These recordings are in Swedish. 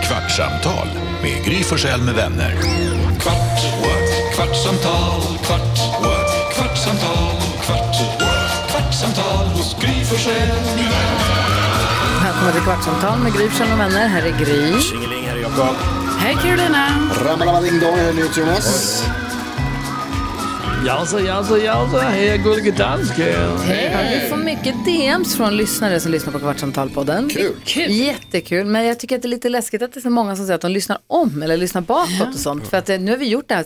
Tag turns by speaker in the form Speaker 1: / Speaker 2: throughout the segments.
Speaker 1: Kvartsamtal med Gry Forssell med vänner. Kvart, what? kvartsamtal, kvart, what? kvartsamtal, kvart, what? kvartsamtal, Gry Forssell med vänner.
Speaker 2: Välkommen till Kvartsamtal med Gry Forssell med vänner. Här är Gry.
Speaker 3: Tjingeling, här är Jakob.
Speaker 2: Hej Carolina.
Speaker 4: Ramalamadingdong, här är NyhetsJonas.
Speaker 3: Jausa, jausa, jausa, hej gullige dansken.
Speaker 2: Hej. Vi får mycket DMs från lyssnare som lyssnar på Kvartsamtalpodden.
Speaker 4: Kul.
Speaker 2: Jättekul. Men jag tycker att det är lite läskigt att det är så många som säger att de lyssnar om eller lyssnar bakåt och sånt. För att eh, nu har vi gjort det här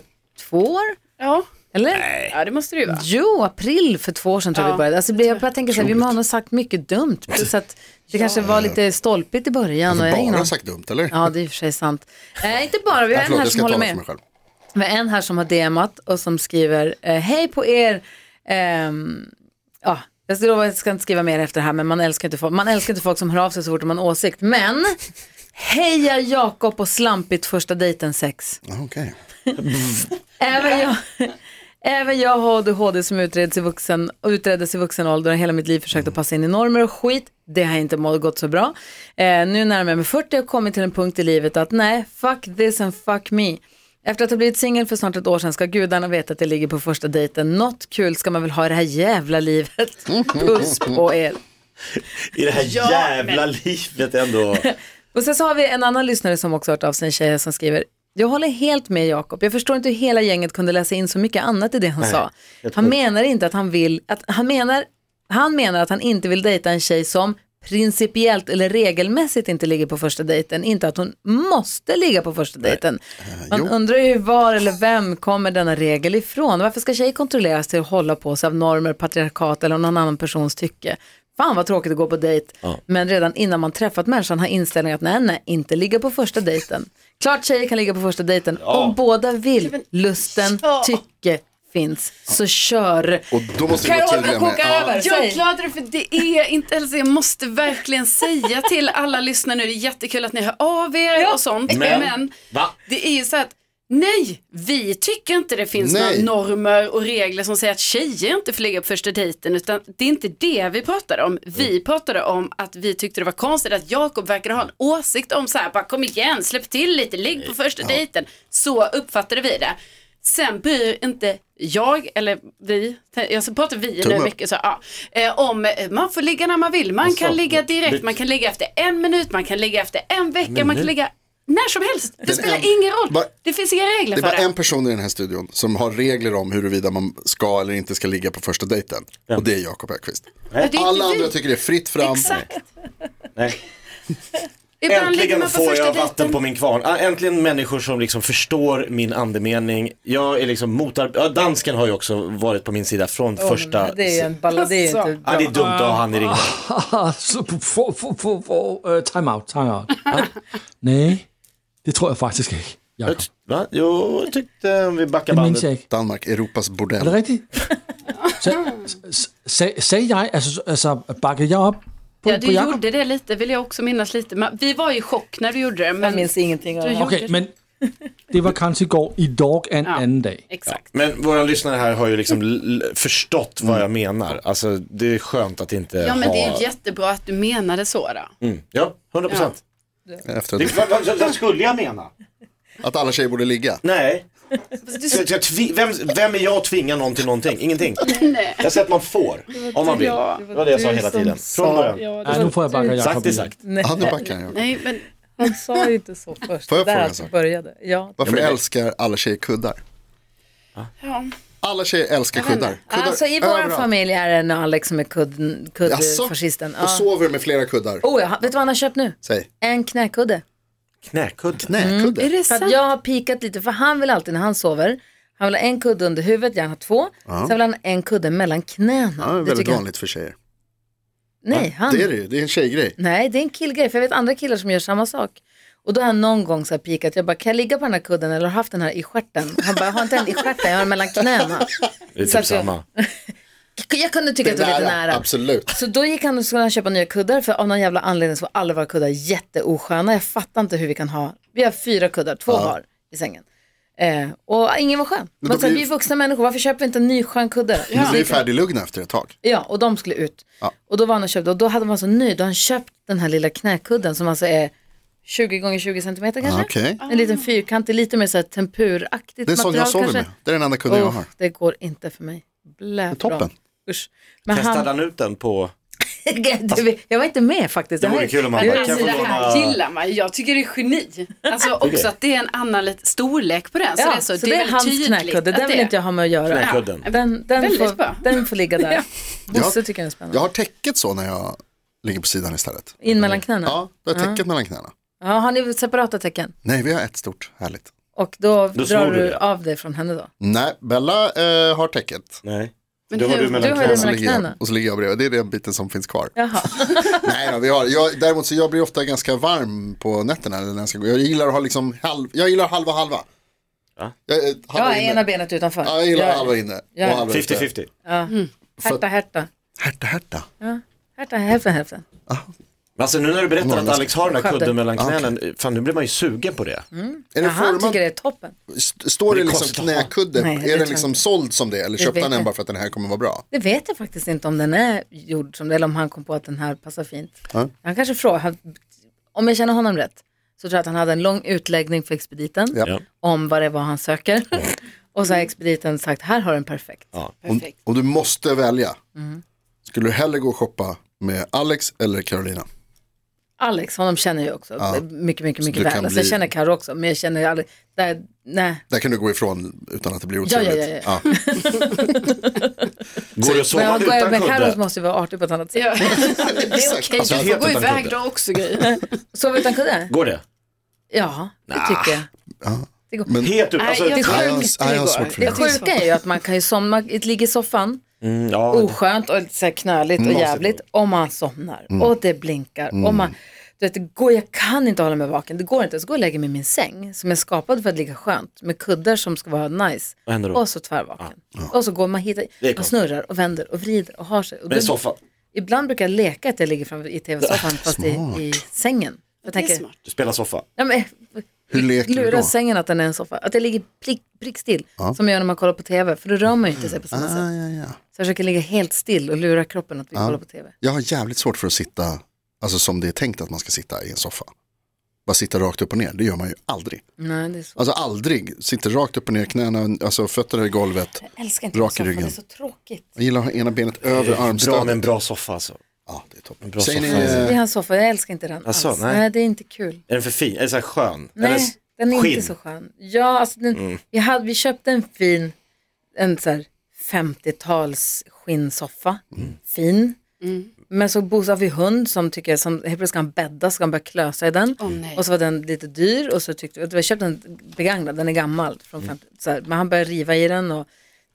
Speaker 2: två år,
Speaker 5: Ja.
Speaker 2: eller?
Speaker 5: ja, det måste det ju vara.
Speaker 2: Jo, april för två år sedan tror jag vi började. Alltså, det blir- jag bara tänker så här, vi har nog sagt mycket dumt. Plus att det kanske var lite stolpigt i början. och Mm, jag har ingen
Speaker 4: Bara
Speaker 2: aning.
Speaker 4: sagt dumt, eller?
Speaker 2: Ja, det är i och för sig sant. Eh, inte bara, vi har
Speaker 4: Nej,
Speaker 2: en
Speaker 4: förlåt,
Speaker 2: här
Speaker 4: jag
Speaker 2: som
Speaker 4: ska
Speaker 2: håller
Speaker 4: tala för
Speaker 2: med.
Speaker 4: mig själv.
Speaker 2: Vi har en här som har DMat och som skriver, eh, hej på er. Ehm, ja, jag ska, jag ska inte skriva mer efter det här, men man älskar, inte folk, man älskar inte folk som hör av sig så fort de har en åsikt. Men, heja Jakob och slampigt första dejten sex.
Speaker 4: Ah, Okej.
Speaker 2: Även jag, även jag har ADHD som utreds i vuxen, utreddes i vuxen ålder och hela mitt liv försökt att passa in i normer och skit. Det har inte må- gått så bra. Eh, nu närmar jag mig 40 och kommit till en punkt i livet att nej, fuck this and fuck me. Efter att ha blivit singel för snart ett år sedan ska gudarna veta att det ligger på första dejten. Något kul ska man väl ha i det här jävla livet. Puss på er.
Speaker 3: I det här jävla livet ändå.
Speaker 2: Och sen så har vi en annan lyssnare som också hört av sig, en tjej som skriver jag håller helt med Jakob. Jag förstår inte hur hela gänget kunde läsa in så mycket annat i det han sa. Han menar inte att han vill, att han menar, han menar att han inte vill dejta en tjej som principiellt eller regelmässigt inte ligger på första dejten. Inte att hon måste ligga på första dejten. Man undrar ju var eller vem kommer denna regel ifrån? Varför ska tjejer kontrolleras till att hålla på sig av normer, patriarkat eller någon annan persons tycke? Fan vad tråkigt att gå på dejt. Men redan innan man träffat människan har inställningen att nej, nej, inte ligga på första dejten. Klart tjejer kan ligga på första dejten om båda vill. Lusten, tycke finns. Så kör.
Speaker 4: Och då måste vi vara tydliga med...
Speaker 2: över.
Speaker 5: Jag är glad för det är inte, alltså jag måste verkligen säga till alla lyssnare nu, det är jättekul att ni hör av er och sånt, men,
Speaker 3: Va?
Speaker 5: det är ju så att nej, vi tycker inte det finns
Speaker 4: Nej.
Speaker 5: några normer och regler som säger att tjejer inte får ligga på första dejten, utan det är inte det vi pratade om.
Speaker 4: Mm.
Speaker 5: Vi pratade om att vi tyckte det var konstigt att Jakob verkade ha en åsikt om så här, bara kom igen, släpp till lite, ligg på första dejten. Så uppfattade vi det. Sen bryr inte jag, eller vi, jag pratar vi
Speaker 4: Tumme
Speaker 5: nu
Speaker 4: upp. Alltså,
Speaker 5: mycket, så, ja, eh, om eh, man får ligga när man vill, man kan ligga direkt, man kan ligga efter en minut, man kan ligga efter en vecka, man kan ligga när som helst. Det spelar
Speaker 4: en-
Speaker 5: ingen roll.
Speaker 4: Bara-
Speaker 5: det finns inga regler
Speaker 4: Det är
Speaker 5: för
Speaker 4: bara
Speaker 5: det.
Speaker 4: en person i den här studion som har regler om huruvida man ska eller inte ska ligga på första dejten. Och det är Jakob Ökvist.
Speaker 5: Ja, det är
Speaker 4: Alla
Speaker 5: inte vi.
Speaker 4: andra tycker det är fritt fram.
Speaker 5: Exakt.
Speaker 6: Nej.
Speaker 5: Ibland ligger
Speaker 6: Äntligen
Speaker 5: man på
Speaker 6: får
Speaker 5: första
Speaker 6: jag
Speaker 5: dejten.
Speaker 6: vatten på min kvarn. Ah, Äntligen människor som liksom förstår min andemening. Jag är liksom motar... Ja, dansken har ju också varit på min sida från första...
Speaker 2: Det är ju en ballad, det är
Speaker 4: Alltså.
Speaker 2: ju inte
Speaker 6: Ah, det är dumt att ha han i ringen.
Speaker 3: Så, få, få, få, få, eh, time out, time out. Ja. Nej, det tror jag faktiskt inte.
Speaker 6: Jag
Speaker 3: Jakob.
Speaker 6: ty- Va? Jo, jag tyckte vi backar
Speaker 3: Det minns
Speaker 6: bandet.
Speaker 3: jag ikke.
Speaker 4: Danmark, Europas
Speaker 3: Er det
Speaker 4: bordell.
Speaker 3: rigtigt? Så, s- s- sagde jeg, altså, altså bakkede jeg op på,
Speaker 5: Ja,
Speaker 3: på
Speaker 5: du
Speaker 3: Jakob?
Speaker 5: gjorde det lite, vill jag också minnas lite. Men Vi var i chock när du gjorde det.
Speaker 2: Jag
Speaker 5: Men
Speaker 2: minns ingenting av
Speaker 5: du
Speaker 2: det.
Speaker 5: gjorde
Speaker 3: Okay, men det var kanskje i går. I dog er en anden dag.
Speaker 5: Exakt.
Speaker 6: Men våra lyssnare här har ju liksom l- l- förstått vad jag menar. Alltså det är skönt att inte
Speaker 5: Ja, men det är
Speaker 6: ha...
Speaker 5: ju jättebra att du menade så då.
Speaker 6: Mm. Ja, 100 procent.
Speaker 4: Efter
Speaker 6: Det, vad, vad, vad skulle jag mena?
Speaker 4: att alla tjejer borde ligga.
Speaker 6: Nej.
Speaker 5: Fast du-
Speaker 6: Så jag tvi- vem, vem är jag att tvinga någon till någonting? Ingenting. Jag säger att man får, om man vill.
Speaker 5: Ja.
Speaker 6: Det var det jag sa hela tiden. Från början.
Speaker 3: Nej, nu får jeg bakke Jakob
Speaker 6: Sagt är
Speaker 3: i.
Speaker 6: sagt.
Speaker 4: Ja, nu backar jag.
Speaker 5: Nej, men
Speaker 2: Han sa ju inte så först.
Speaker 4: Får jag
Speaker 2: Där
Speaker 4: fråga en
Speaker 2: alltså
Speaker 4: sak?
Speaker 2: började. Ja.
Speaker 4: Varför
Speaker 6: Ja, men-
Speaker 4: älskar alla tjejer kuddar?
Speaker 5: ja.
Speaker 4: Alla tjejer älskar kuddar. kuddar
Speaker 2: Alltså i vår
Speaker 4: överallt.
Speaker 2: familj är det en Alex som är kudd-
Speaker 4: Jaså?
Speaker 2: kuddfascisten.
Speaker 4: Och
Speaker 2: Ja.
Speaker 4: sover med flera kuddar.
Speaker 2: Oh, ja. Vet du vad han har köpt nu?
Speaker 4: Säg.
Speaker 2: En knäkudde.
Speaker 6: Knäkudde.
Speaker 2: Mm.
Speaker 4: Knäkudde.
Speaker 5: Är det
Speaker 2: För
Speaker 5: sant?
Speaker 2: att jag har pikat lite, för han vill alltid när han sover, han vill ha en kudde under huvudet, gärna två. Sen vill han ha en kudde mellan knäna.
Speaker 4: Ja, det är väldigt
Speaker 2: tycker han-
Speaker 4: vanligt för tjejer.
Speaker 2: Nej, han...
Speaker 4: Det är det ju, det är en tjejgrej.
Speaker 2: Nej, det är en killgrej, för jag vet andra killar som gör samma sak. Och då har han någon gång så här pikat, jag bara, kan jag ligga på den här kudden eller har haft den här i stjärten? Han bara, jag har inte den i stjärten, jag har den mellan knäna.
Speaker 6: Det är
Speaker 2: Så
Speaker 6: typ
Speaker 2: att jag-
Speaker 6: samma.
Speaker 2: Jag kunde tycka att det var lite nära.
Speaker 4: Absolut.
Speaker 2: Så då gick han och skulle han köpa nya kuddar för av någon jävla anledning så var alla våra kuddar jätteosköna. Jag fattar inte hur vi kan ha, vi har fyra kuddar, två var i sängen. Eh, och ingen var skön.
Speaker 4: då
Speaker 2: Man sa,
Speaker 4: blir-
Speaker 2: vi är vuxna människor, varför köper vi inte en ny skön kudde?
Speaker 4: Nu blir vi färdiglugna efter ett tag.
Speaker 2: Ja, och de skulle ut.
Speaker 4: Ja.
Speaker 2: Och då var han och köpte, och då hade man så nöjd, då hade han köpt den här lilla knäkudden som alltså är 20 gånger 20 centimeter kanske.
Speaker 4: Ah, Okej.
Speaker 2: En liten fyrkantig, lite mer så här tempuraktigt
Speaker 4: Det är en sån jag sover med. Det är den enda kunden jag
Speaker 2: Åh,
Speaker 4: har.
Speaker 2: det går inte för mig. Blä,
Speaker 4: toppen.
Speaker 2: bra. Usch. Men
Speaker 6: Testade
Speaker 2: han,
Speaker 6: han ut den på...
Speaker 2: du, vet, jag var inte med faktiskt.
Speaker 6: Det
Speaker 2: här-
Speaker 6: vore kul om han
Speaker 2: det
Speaker 6: bara,
Speaker 2: är-
Speaker 6: kan jag få
Speaker 5: Alltså det här
Speaker 6: låna...
Speaker 5: gillar man ju. Jag tycker det är geni. Alltså också att det är en annan lite storlek på den. Så
Speaker 2: Ja,
Speaker 5: det är, så, alltså, det är,
Speaker 2: hans
Speaker 5: väldigt tydligt.
Speaker 2: knäckudde, den
Speaker 5: att
Speaker 2: vill
Speaker 5: det-
Speaker 2: inte jag ha med att göra.
Speaker 6: Knäckudden.
Speaker 2: Ja, Den, den,
Speaker 5: Väldigt
Speaker 2: får,
Speaker 5: bra.
Speaker 2: den får ligga där. Bosse
Speaker 4: Ja.
Speaker 2: tycker den är spännande.
Speaker 4: Jag har täcket så när jag ligger på sidan istället.
Speaker 2: In mellan knäna? Ja.
Speaker 4: Ja, jag har täcket mellan knäna.
Speaker 2: har ni separata tecken?
Speaker 4: Nej, vi har ett stort, härligt.
Speaker 2: Och då,
Speaker 6: snor
Speaker 2: drar
Speaker 6: du
Speaker 2: du
Speaker 6: det.
Speaker 2: av dig från henne då?
Speaker 4: Nej, Bella eh, har täcket.
Speaker 6: Nej.
Speaker 5: Men
Speaker 6: Då var
Speaker 5: hur-
Speaker 6: du mellan
Speaker 2: du har ju det
Speaker 4: Och
Speaker 6: knäna.
Speaker 4: så,
Speaker 2: mellan
Speaker 4: ligger jag,
Speaker 2: knäna.
Speaker 4: och så ligger jag bredvid, det är den biten som finns kvar.
Speaker 2: Jaha,
Speaker 4: Nej då, vi har, jag, däremot så jag blir ofta ganska varm på nätterna när jag ska gå. Jag gillar att ha liksom halv, jag gillar halva halva.
Speaker 6: Va?
Speaker 4: Jag, eh, halva
Speaker 2: ja,
Speaker 4: inne.
Speaker 2: ena benet utanför.
Speaker 4: Ja, jag gillar
Speaker 2: Ja.
Speaker 4: halva inne
Speaker 2: Ja.
Speaker 4: och halva ute.
Speaker 6: 50-50.
Speaker 2: Härta, härta.
Speaker 4: Härta, härta.
Speaker 2: Härta, hälften, hälften.
Speaker 6: Alltså nu när du berättar att
Speaker 4: Norrländsk.
Speaker 6: Alex har den där
Speaker 2: Sköter.
Speaker 6: kudden mellan
Speaker 4: Ah,
Speaker 6: knänen, fan nu blir man ju sugen på det.
Speaker 4: Är det
Speaker 2: Ja, han
Speaker 4: formad,
Speaker 2: tycker det är toppen.
Speaker 4: st- står det
Speaker 6: Det är
Speaker 4: liksom
Speaker 6: konstigt att ha.
Speaker 4: knäkudde,
Speaker 2: Nej, det
Speaker 4: är
Speaker 2: tror
Speaker 4: den
Speaker 2: jag
Speaker 4: liksom
Speaker 2: inte.
Speaker 4: såld som det eller köpte
Speaker 2: vet
Speaker 4: han den
Speaker 2: jag.
Speaker 4: bara för att den här kommer vara bra?
Speaker 2: Det vet jag faktiskt inte om den är gjord som det, eller om han kom på att den här passar fint.
Speaker 4: Ja.
Speaker 2: Han kanske frågar, han, om jag känner honom rätt, så tror jag att han hade en lång utläggning för expediten
Speaker 4: Ja.
Speaker 6: Ja.
Speaker 2: om vad det var han söker. Och så har expediten sagt, här har du en perfekt. Mm.
Speaker 4: Om, om du måste välja, skulle du hellre gå och shoppa med Alex eller Carolina?
Speaker 2: Alex, honom känner jag också mycket, mycket,
Speaker 4: du
Speaker 2: mycket
Speaker 4: kan
Speaker 2: väl. Alltså, jag
Speaker 4: bli-
Speaker 2: känner Karo också, men jag känner aldrig, där, nej,
Speaker 4: Där kan du gå ifrån utan att det blir
Speaker 2: ja, ja,
Speaker 4: otrevligt.
Speaker 2: ja.
Speaker 4: Ja.
Speaker 6: Går det att sova
Speaker 2: men jag går
Speaker 6: utan
Speaker 2: med Karo
Speaker 6: kudde?
Speaker 2: så måste vi vara artig på ett annat sätt.
Speaker 5: Ja.
Speaker 4: Det är okej.
Speaker 5: Du får gå iväg då också grejer.
Speaker 2: Sova utan kudde?
Speaker 6: Går det?
Speaker 2: Ja, det tycker jag. Det går.
Speaker 6: Helt upp, alltså,
Speaker 5: Nej, jag
Speaker 4: jag,
Speaker 5: skämtar
Speaker 4: har-
Speaker 5: igår.
Speaker 4: nej, jag har svårt för
Speaker 2: Det
Speaker 4: det.
Speaker 2: sjuka är ju att man kan ju somna, ligga i soffan,
Speaker 6: mm, ja,
Speaker 2: oskönt och lite så här knöligt och
Speaker 4: Masigt.
Speaker 2: jävligt om man somnar
Speaker 6: Mm.
Speaker 2: och det blinkar. Och man, du vet, det går, jag kan inte hålla mig vaken, det går inte. Så går jag och lägger mig i min säng som är skapad för att ligga skönt med kuddar som ska vara nice.
Speaker 6: Vad händer då?
Speaker 2: Och så tvärvaken. Och så går man hit,
Speaker 6: Det är
Speaker 2: man
Speaker 6: konstigt.
Speaker 2: snurrar och vänder och vrider och har sig. Och
Speaker 6: det är
Speaker 2: då-
Speaker 6: soffan.
Speaker 2: Ibland brukar jag leka att jag ligger framför i tv-soffan fast i, i sängen. Jag
Speaker 5: Det är
Speaker 2: tänker,
Speaker 5: smart.
Speaker 6: Du spelar soffa.
Speaker 2: ja, men,
Speaker 4: Hur leker du
Speaker 2: lura
Speaker 4: då?
Speaker 2: sängen att den är en soffa. Att jag ligger prick, prickstill som jag gör när man kollar på tv för då rör man ju inte sig på samma sätt.
Speaker 4: Ah, ja, ja.
Speaker 2: Så jag försöker ligga helt still och lura kroppen att vi kollar på tv.
Speaker 4: Jag har jävligt svårt för att sitta, alltså som det är tänkt att man ska sitta i en soffa. Bara sitta rakt upp och ner, det gör man ju aldrig.
Speaker 2: Nej, det är så.
Speaker 4: Alltså aldrig, sitter rakt upp och ner, knäna, alltså fötterna i golvet.
Speaker 2: Jag älskar inte
Speaker 4: Rak i
Speaker 2: soffan,
Speaker 4: ryggen.
Speaker 2: det är så tråkigt.
Speaker 4: Jag gillar att ha ena benet över
Speaker 6: Bra med
Speaker 4: armstödet.
Speaker 6: en bra soffa alltså. Är
Speaker 4: Ja, det är toppen.
Speaker 6: bra
Speaker 4: Säger ni,
Speaker 6: soffa.
Speaker 2: Det
Speaker 4: eh,
Speaker 2: är hans soffa, jag älskar inte den
Speaker 6: Asså,
Speaker 2: alls.
Speaker 6: nej.
Speaker 2: Nej. det är inte kul.
Speaker 6: den för fin? Är den så här skön? Eller
Speaker 2: Nej,
Speaker 6: s-
Speaker 2: den är
Speaker 6: skinn? Mm.
Speaker 2: inte så skön. Ja, alltså den, vi, hade, vi köpte en fin, en så här 50-tals skinnsoffa.
Speaker 6: Mm.
Speaker 2: Fin.
Speaker 5: Mm.
Speaker 2: Men så bor- så har vi hund som tycker, som helt plötsligt ska han bädda, ska han börja klösa i den.
Speaker 5: Åh, nej.
Speaker 2: och så var den lite dyr och så tyckte vi, vi har köpt en begagnad, den är gammal. Från
Speaker 6: Mm.
Speaker 2: 50, så här, men han började riva i den och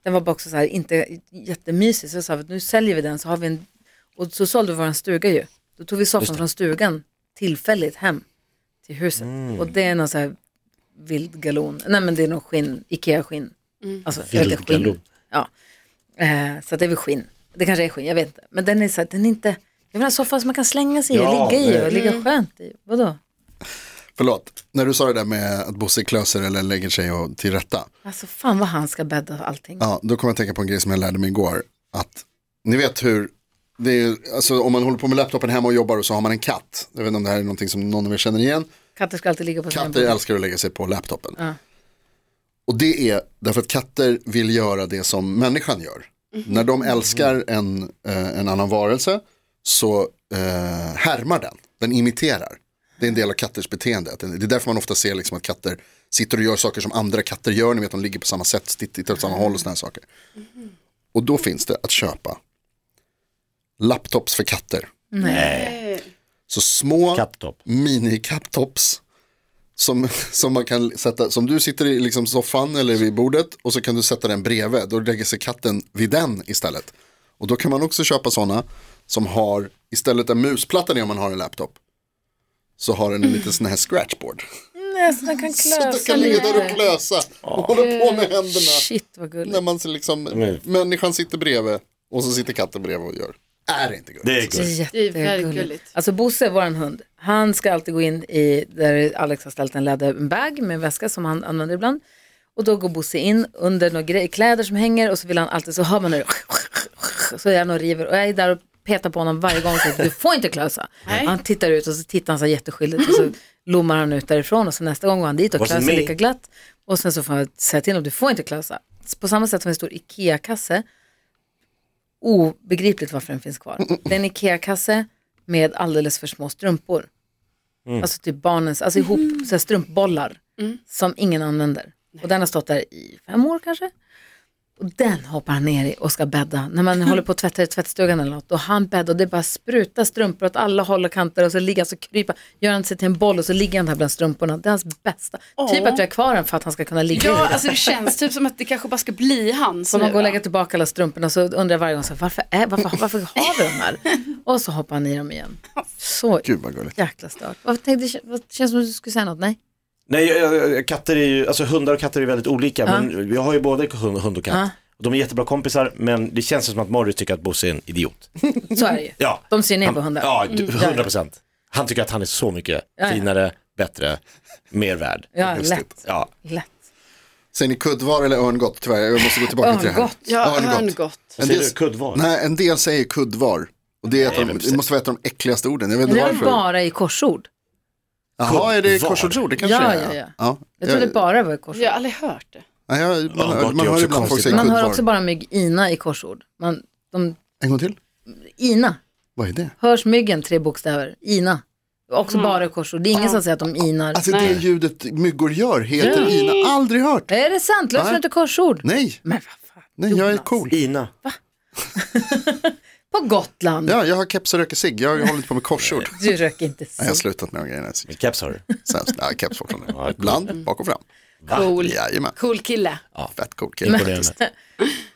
Speaker 2: den var bara också så här, inte jättemysig. Så jag sa att nu säljer vi den så har vi en, och så sålde vi vår stuga ju. Då tog vi soffan från stugan tillfälligt hem till huset. Och det är någon så här vild galon. Nej men det är någon skinn, Ikea-skinn. Alltså, jag vet inte, skinn.
Speaker 6: galon.
Speaker 2: Ja. Eh, så att det är väl skinn. Det kanske är skinn, jag vet inte. Men den är så här, den är inte, jag vill ha en soffa som man kan slänga sig i
Speaker 6: Ja,
Speaker 2: och ligga i
Speaker 6: det-
Speaker 2: och ligga skönt i. Vadå?
Speaker 4: förlåt, när du sa det där med att Bosse klöser eller lägger sig och till rätta.
Speaker 2: Alltså fan vad han ska bädda och allting.
Speaker 4: Ja, då kommer jag att tänka på en grej som jag lärde mig igår. Att ni vet hur, det är, ju- alltså, om man håller på med laptopen hemma och jobbar och så har man en katt. Jag vet inte om det här är någonting som någon av er känner igen.
Speaker 2: Katter ska alltid ligga på sina
Speaker 4: Katter
Speaker 2: ben.
Speaker 4: älskar att lägga sig på laptopen. Och det är därför att katter vill göra det som människan gör. När de älskar en, eh, en annan varelse så eh, härmar den, den imiterar. Det är en del av katters beteende. Att den- Det är därför man ofta ser liksom att katter sitter och gör saker som andra katter gör. Ni vet, de ligger på samma sätt, titt- tittar åt samma håll och sådana saker. Och då finns det att köpa laptops för katter. Så små
Speaker 6: Kapptopp.
Speaker 4: mini-captops som, som man kan sätta, som du sitter i liksom soffan eller vid bordet och så kan du sätta den bredvid, då lägger sig katten vid den istället. Och då kan man också köpa sådana som har, istället en musplatta är om man har en laptop, så har den en liten sån här scratchboard.
Speaker 2: Nej, så den kan
Speaker 4: Så du
Speaker 2: klösa
Speaker 4: kan ligga där och
Speaker 2: lite.
Speaker 4: klösa och hålla på med händerna.
Speaker 2: Shit vad
Speaker 4: När
Speaker 2: gulligt.
Speaker 4: man ser liksom,
Speaker 6: Mm.
Speaker 4: människan sitter bredvid och så sitter katten bredvid och gör. Är det inte gulligt?
Speaker 6: Det är
Speaker 2: Det är
Speaker 6: gulligt.
Speaker 5: Det är väldigt
Speaker 2: jättegulligt.
Speaker 5: gulligt.
Speaker 2: Alltså Bosse, våran hund, han ska alltid gå in i, där Alex har ställt en läderbag med en väska som han använder ibland. Och då går Bosse in under några gre- kläder som hänger och så vill han alltid, så hör man hur det- så är han och river och jag är där och petar på honom varje gång och säger du får inte klösa.
Speaker 5: Nej.
Speaker 2: Han tittar ut och så tittar han så här jätteskyldigt och så lommar han ut därifrån och så nästa gång går han dit och
Speaker 6: Wasn't
Speaker 2: klösar
Speaker 6: me.
Speaker 2: lika glatt. Och sen så får han säga till honom, du får inte klösa. På samma sätt som en stor IKEA-kasse, obegripligt varför den finns kvar. Det är en IKEA-kasse med alldeles för små strumpor.
Speaker 4: Mm.
Speaker 2: Alltså typ barnens, alltså ihop så här strumpbollar som ingen använder. Och den har stått där i fem år kanske. Och den hoppar han ner i och ska bädda. När man håller på att tvätta i tvättstugan eller något. Och han bäddar och det bara sprutar strumpor åt alla håll och kanter. Och så ligger han så krypa, gör han sig till en boll och så ligger han där bland strumporna. Det är hans bästa. Typ att vi har kvar den för att han ska kunna ligga i
Speaker 5: Ja,
Speaker 2: den.
Speaker 5: alltså det känns typ som att det kanske bara ska bli hans
Speaker 2: Så man
Speaker 5: nu,
Speaker 2: går och
Speaker 5: va?
Speaker 2: lägger tillbaka alla strumporna så undrar jag varje gång så här, varför, är, varför, varför har vi de här? Och så hoppar han i dem igen. Så
Speaker 4: Gud vad gulligt.
Speaker 2: jäkla stört. Vad tänkte, vad, känns som att du skulle säga något? Nej?
Speaker 6: Nej, jag- jag- jag- katter är ju, alltså hundar och katter är väldigt olika, men jag har ju både hund, hund och katt. Och de är jättebra kompisar, men det känns ju som att Morris tycker att Bosse är en idiot.
Speaker 2: Så är det ju.
Speaker 6: Ja,
Speaker 2: De ser ner på hundar. Mm,
Speaker 6: ja du- 100 procent. Han tycker att han är så mycket
Speaker 2: Ja, ja.
Speaker 6: finare, bättre, mer värd.
Speaker 2: Ja,
Speaker 4: Lustigt.
Speaker 2: lätt.
Speaker 6: Ja.
Speaker 2: lätt.
Speaker 4: Säger ni kuddvar eller örngott? Tyvärr, jag måste gå tillbaka till det här.
Speaker 2: Örngott.
Speaker 5: Ja,
Speaker 4: Örngott.
Speaker 5: örngott.
Speaker 4: En
Speaker 6: Säger
Speaker 4: del,
Speaker 6: du kuddvar?
Speaker 4: Nej, en del säger kuddvar. Och det, är ett av de, det måste vara ett av de äckligaste orden. Jag vet
Speaker 2: Det
Speaker 4: inte
Speaker 2: är
Speaker 4: varför.
Speaker 2: bara i korsord.
Speaker 4: Jaha, är det
Speaker 6: Kuddvar.
Speaker 4: korsordsord? Det kanske
Speaker 2: Ja,
Speaker 4: det
Speaker 2: ja,
Speaker 4: är.
Speaker 2: ja. Jag
Speaker 4: ja.
Speaker 2: trodde bara var i korsord.
Speaker 5: Jag har aldrig hört det.
Speaker 4: Nej, jag, man,
Speaker 6: Örngott är
Speaker 4: hör- man hör
Speaker 6: också
Speaker 4: ibland folk
Speaker 6: konstigt
Speaker 4: säga
Speaker 2: Man
Speaker 4: kuddvar.
Speaker 2: hör också bara mygg-ina i korsord. Man, de,
Speaker 4: En gång till.
Speaker 2: ina,
Speaker 4: Vad är det?
Speaker 2: hörs myggen tre bokstäver, ina. Också bara i korsord. Det är ingen som säger att de inar.
Speaker 4: Alltså det ljudet myggor gör heter Ina. Aldrig hört.
Speaker 2: är det sant? Löser
Speaker 4: Nej.
Speaker 2: du inte korsord?
Speaker 4: Nej,
Speaker 2: Men vad fan.
Speaker 4: nej jag är
Speaker 2: Jonas.
Speaker 4: cool.
Speaker 6: Ina.
Speaker 2: På Gotland.
Speaker 4: Ja, jag har keps och röker cigg. Jag håller inte på med korsord.
Speaker 2: Du röker inte
Speaker 4: Nej, jag har
Speaker 2: så.
Speaker 4: slutat med de grejerna.
Speaker 6: Vilken Keps har du.
Speaker 4: Sämst. Ja, Mm. keps fortfarande. Ibland, bak och fram.
Speaker 5: Cool.
Speaker 4: Jajamän.
Speaker 5: Cool kille.
Speaker 4: Fett cool kille.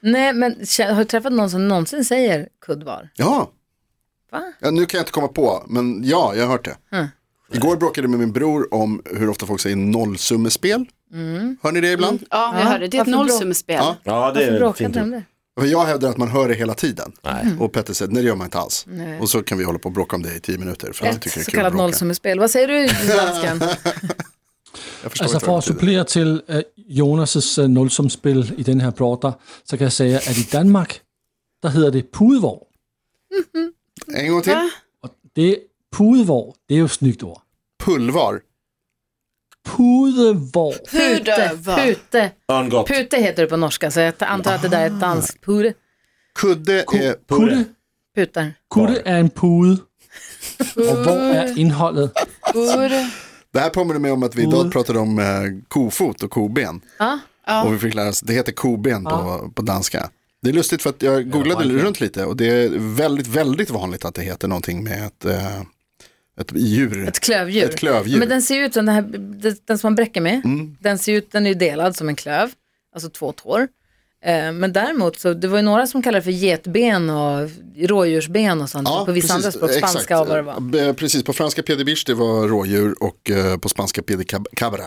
Speaker 2: Nej, men kä- har du träffat någon som någonsin säger kuddvar?
Speaker 4: Ja.
Speaker 2: Va? Hm.
Speaker 4: ja, nu kan jag inte komma på, men ja, jag har hört det. Igår bråkade jag med min bror om hur ofta folk säger nollsummespel.
Speaker 2: Mm.
Speaker 4: Hör ni det ibland?
Speaker 5: Ja, vi
Speaker 2: Ja,
Speaker 5: hörde. Det är ett
Speaker 2: varför bra?
Speaker 5: nollsummespel.
Speaker 4: Ja.
Speaker 6: Ja, det
Speaker 2: Varför
Speaker 6: är
Speaker 2: bråkade
Speaker 6: fint.
Speaker 2: ni om det?
Speaker 4: För jag hävdar att man hör det hela tiden.
Speaker 2: Mm.
Speaker 4: Och Petter säger, nej det gör man inte alls. Och så kan vi hålla på och bråka om det i tio minuter. För jag
Speaker 2: Ett
Speaker 4: tycker det är
Speaker 2: så
Speaker 4: kul att
Speaker 2: kallat
Speaker 4: bråka.
Speaker 2: nollsummespel. Vad säger du, dansken?
Speaker 4: Jag förstår
Speaker 3: Altså
Speaker 4: inte vad
Speaker 3: for
Speaker 4: det betyder.
Speaker 3: at supplere til øh, Jonas' øh, nulsumspil i den her plotter, så kan jeg sige, at i Danmark, der hedder det pudevår.
Speaker 4: En gång till.
Speaker 3: Og det pudevår, det er jo snygt ord.
Speaker 4: Pulvar.
Speaker 3: Pudevår.
Speaker 2: Pute, pute.
Speaker 6: Örngott.
Speaker 2: Pute heter det på norska, så jag antar att det där är ett danskt pure.
Speaker 4: Kudde är...
Speaker 3: Kutte,
Speaker 2: Putar.
Speaker 3: kutte er en pude. Og hvor er indholdet?
Speaker 4: Det här påminner mig om att vi idag pratade om eh, kofot och koben.
Speaker 2: Ja.
Speaker 4: Och vi fick lära oss, det heter koben på, på danska. Det är lustigt för att jag googlade runt lite och det är väldigt, väldigt vanligt att det heter någonting med ett, eh, ett djur.
Speaker 2: Ett klövdjur.
Speaker 4: Ett klövdjur. Mm.
Speaker 2: Men den ser ju ut som den här, den som man bräcker med. Den ser ut, den är ju delad som en klöv, alltså två tår. Eh, Men däremot så, det var ju några som kallade det för getben och rådjursben och sånt. på vissa andra språk,
Speaker 4: exakt. Eh,
Speaker 2: spanska och vad det var.
Speaker 4: B- Precis, på franska pedibisch det var rådjur och eh, på spanska pedicabra,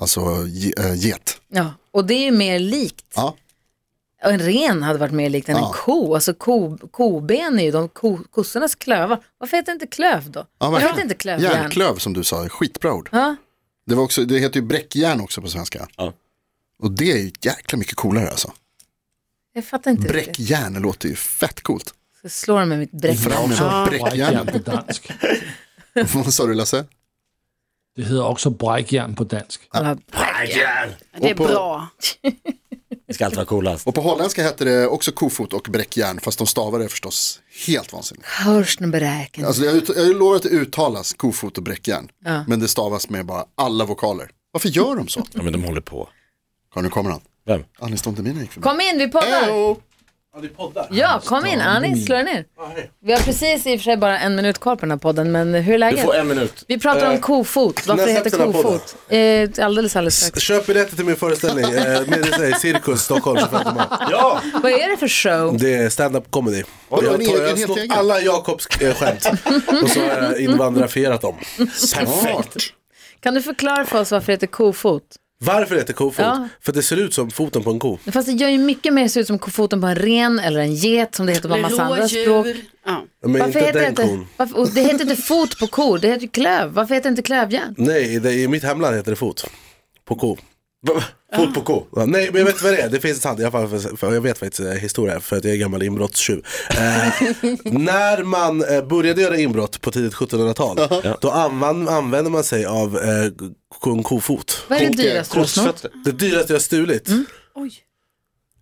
Speaker 4: alltså ge- eh, get.
Speaker 2: Ja, och det är ju mer likt.
Speaker 4: Ja.
Speaker 2: Och en ren hade varit mer likt än en
Speaker 4: Ja.
Speaker 2: ko. Alltså ko, koben är ju de ko, kossornas klövar. Varför heter det inte klöv då? Varför heter det inte klövjärn?
Speaker 4: Järnklöv som du sa, skitbra ord.
Speaker 2: Ja.
Speaker 4: Det, var också, det heter ju bräckjärn också på svenska.
Speaker 6: Ja.
Speaker 4: Och det är ju jäkla mycket coolare alltså.
Speaker 2: Jag fattar inte riktigt.
Speaker 4: Bräckjärn låter ju fett coolt.
Speaker 2: Jag slår dem med mitt bräck.
Speaker 4: Fram med
Speaker 3: Ah. Brækjern
Speaker 4: bräckjärnet.
Speaker 3: på dansk.
Speaker 4: Vad sa du Lasse?
Speaker 3: Det hedder også brækjern på dansk.
Speaker 2: Kolla,
Speaker 6: Örngott.
Speaker 5: Det är
Speaker 4: Och på-
Speaker 5: bra.
Speaker 6: Det ska alltid vara coolast.
Speaker 4: Och på holländska hette det också kofot och bräckjärn, fast de stavar det förstås helt vansinnigt.
Speaker 2: Hörselberäkning.
Speaker 4: Alltså jag, ut- jag lovar att det uttalas kofot och bräckjärn, men det stavas med bara alla vokaler. Varför gör de så?
Speaker 6: Ja, men de håller på.
Speaker 4: Kolla, nu kommer han.
Speaker 6: Vem?
Speaker 4: Anis Don Demina gick förbi.
Speaker 2: Kom in, vi
Speaker 7: Eh,
Speaker 2: poddar.
Speaker 4: Heyo!
Speaker 2: Ja, kom in. Anis, slå dig ner. Vi har precis i och för sig bara en minut kvar på den här podden, men hur är
Speaker 6: Du
Speaker 2: läget?
Speaker 6: får en minut.
Speaker 2: Vi pratar om kofot. Varför
Speaker 7: Eh, när
Speaker 2: det heter
Speaker 7: släpps den här
Speaker 2: kofot? Eh, alldeles, alldeles strax.
Speaker 7: Köp biljetter till min föreställning, eh, med det säger Cirkus Stockholm 25 maj.
Speaker 6: Ja!
Speaker 2: Vad är det för show?
Speaker 7: Det är stand-up comedy. Och
Speaker 4: en
Speaker 7: jag
Speaker 4: egen,
Speaker 7: tar, jag har
Speaker 4: helt
Speaker 7: snott
Speaker 4: egen.
Speaker 7: alla Jakobs eh, skämt och så har jag invandrafierat dem.
Speaker 6: Perfekt.
Speaker 2: Kan du förklara för oss varför det heter kofot?
Speaker 7: Varför heter kofot?
Speaker 2: Ja.
Speaker 7: För det ser ut som foten på en ko.
Speaker 2: Fast det gör ju mycket mer se ut som kofoten på en ren eller en get som det heter på en massa andra språk.
Speaker 5: Rådjur. Ja.
Speaker 7: Men
Speaker 2: Varför
Speaker 7: inte
Speaker 2: heter det
Speaker 7: den
Speaker 2: inte,
Speaker 7: kon.
Speaker 2: varför, och det heter inte fot på kor, det heter ju klöv. Varför heter det inte klövjärn?
Speaker 7: Nej, det, i mitt hemland heter det fot. På ko.
Speaker 2: Ah.
Speaker 6: Fot på ko.
Speaker 7: Ja, Nej men jag vet vad det är, det finns ett hand, jag, för, för, jag vet faktiskt eh, historia för att jag är gammal inbrottstjuv. Eh, när man eh, började göra inbrott på tidigt 1700-tal, då anvand, använde man sig av eh, kung kofot.
Speaker 2: Vad är det dyraste du har snott? Mm.
Speaker 6: Korsfötter.
Speaker 7: Det dyraste jag har stulit
Speaker 5: Oj.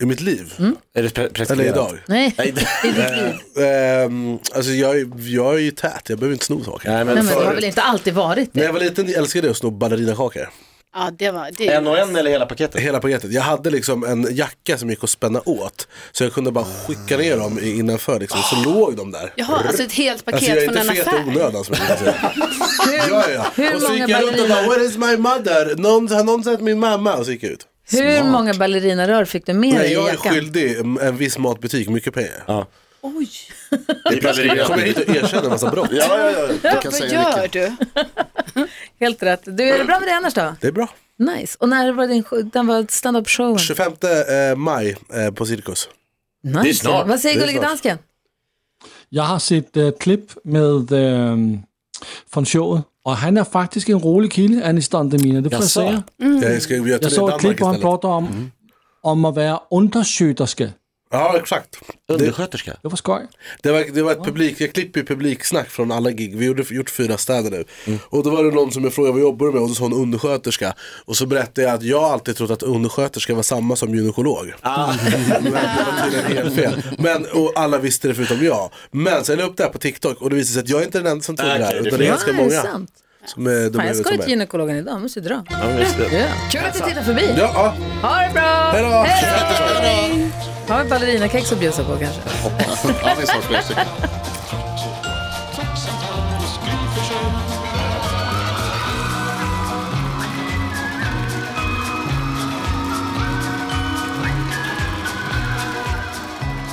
Speaker 7: i mitt liv,
Speaker 6: Är det pre-
Speaker 7: eller
Speaker 6: preskriberat?
Speaker 7: idag.
Speaker 2: Nej,
Speaker 6: Mm. Nej, det-
Speaker 2: det är ditt liv.
Speaker 7: Ehm, alltså jag, är- jag är ju tät, jag behöver inte sno saker.
Speaker 6: Nej,
Speaker 2: Nej,
Speaker 6: men
Speaker 2: men det har
Speaker 6: förut.
Speaker 2: väl inte alltid varit
Speaker 7: När
Speaker 2: det?
Speaker 7: jag var liten älskade jag att sno ballerinakakor.
Speaker 5: Ja, det var det.
Speaker 6: En och en eller hela paketet?
Speaker 7: Hela paketet. Jag hade liksom en jacka som gick att spänna åt. Så jag kunde bara skicka ner dem i- innanför liksom, så låg de där.
Speaker 5: Jaha, alltså ett helt paket
Speaker 7: Alltså jag är
Speaker 5: från
Speaker 7: inte
Speaker 5: en
Speaker 7: fet i
Speaker 5: affär.
Speaker 7: onödan som jag brukar säga. ja, ja.
Speaker 2: hur
Speaker 7: och så
Speaker 2: många
Speaker 7: gick jag runt och bara,
Speaker 2: balleriner-
Speaker 7: where is my mother? Någon, har någon sett min mamma? Och så gick jag ut.
Speaker 2: Hur många ballerinarör fick du med dig
Speaker 7: Nej,
Speaker 2: i
Speaker 7: jag är
Speaker 2: jackan?
Speaker 7: skyldig en viss matbutik mycket pengar.
Speaker 6: Ja.
Speaker 5: Oj,
Speaker 6: I preskriberat.
Speaker 7: Kommer jag hit och erkänner en massa brott?
Speaker 6: Ja, ja, ja.
Speaker 5: ja,
Speaker 4: kan
Speaker 5: vad
Speaker 4: säga
Speaker 5: gör
Speaker 4: mycket.
Speaker 5: du?
Speaker 2: Helt rätt. Du, är det bra med det annars då?
Speaker 7: Det är bra.
Speaker 2: Nice. Och när var din show- den var stand-up showen?
Speaker 7: 25 eh, maj eh, på Cirkus.
Speaker 2: Nice.
Speaker 6: Det är snart.
Speaker 2: Vad säger
Speaker 7: Det är
Speaker 2: Gullige
Speaker 7: snart.
Speaker 2: Dansken?
Speaker 3: Jeg har set øh, klip med øh, fra showet, og han er faktisk en rolig kilde, Aniston Demina. Det får jeg
Speaker 6: så.
Speaker 3: sige.
Speaker 2: Mm.
Speaker 7: Jag, ska, jag, jag,
Speaker 3: Jeg så et klip, hvor han prater om, om at være undersøgerske.
Speaker 7: Ja, exakt.
Speaker 6: Undersköterska.
Speaker 3: Det var skøj.
Speaker 7: Det var, det var ett publik, jag klipper ju publiksnack från alla gig, vi gjorde gjort fyra städer nu. Och då var det någon som jag frågade vad jobbar du med och då sa hon undersköterska. Och så berättade jag att jag alltid trott att undersköterska var samma som gynekolog. Men det var tydligen helt fel. Men, och alla visste det förutom jag. Men sen la jag upp det här på TikTok och det visade sig att jag är inte den enda som tror det här.
Speaker 6: Okej, det
Speaker 7: Utan det är
Speaker 6: finns-
Speaker 7: ganska
Speaker 2: Nej,
Speaker 7: många
Speaker 2: Ah, sant.
Speaker 7: som är
Speaker 2: Fan, jag
Speaker 7: dumma i huvudet
Speaker 2: ska
Speaker 7: som
Speaker 2: ju till
Speaker 7: är.
Speaker 2: gynekologen idag, måste ju dra.
Speaker 6: Ja, men just det.
Speaker 2: Ja. Kul att du tittar förbi.
Speaker 7: Ja, ja.
Speaker 2: Ha det bra!
Speaker 7: Hej då!
Speaker 2: då! Har vi ballerinakex att bjussa på kanske?
Speaker 4: Ja, det är snart slut.
Speaker 1: Kvartsamtal hos Gry Forssell med vänner.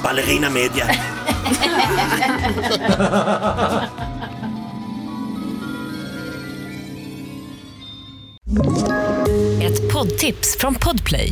Speaker 6: Ballerina media.
Speaker 8: Ett poddtips från Podplay.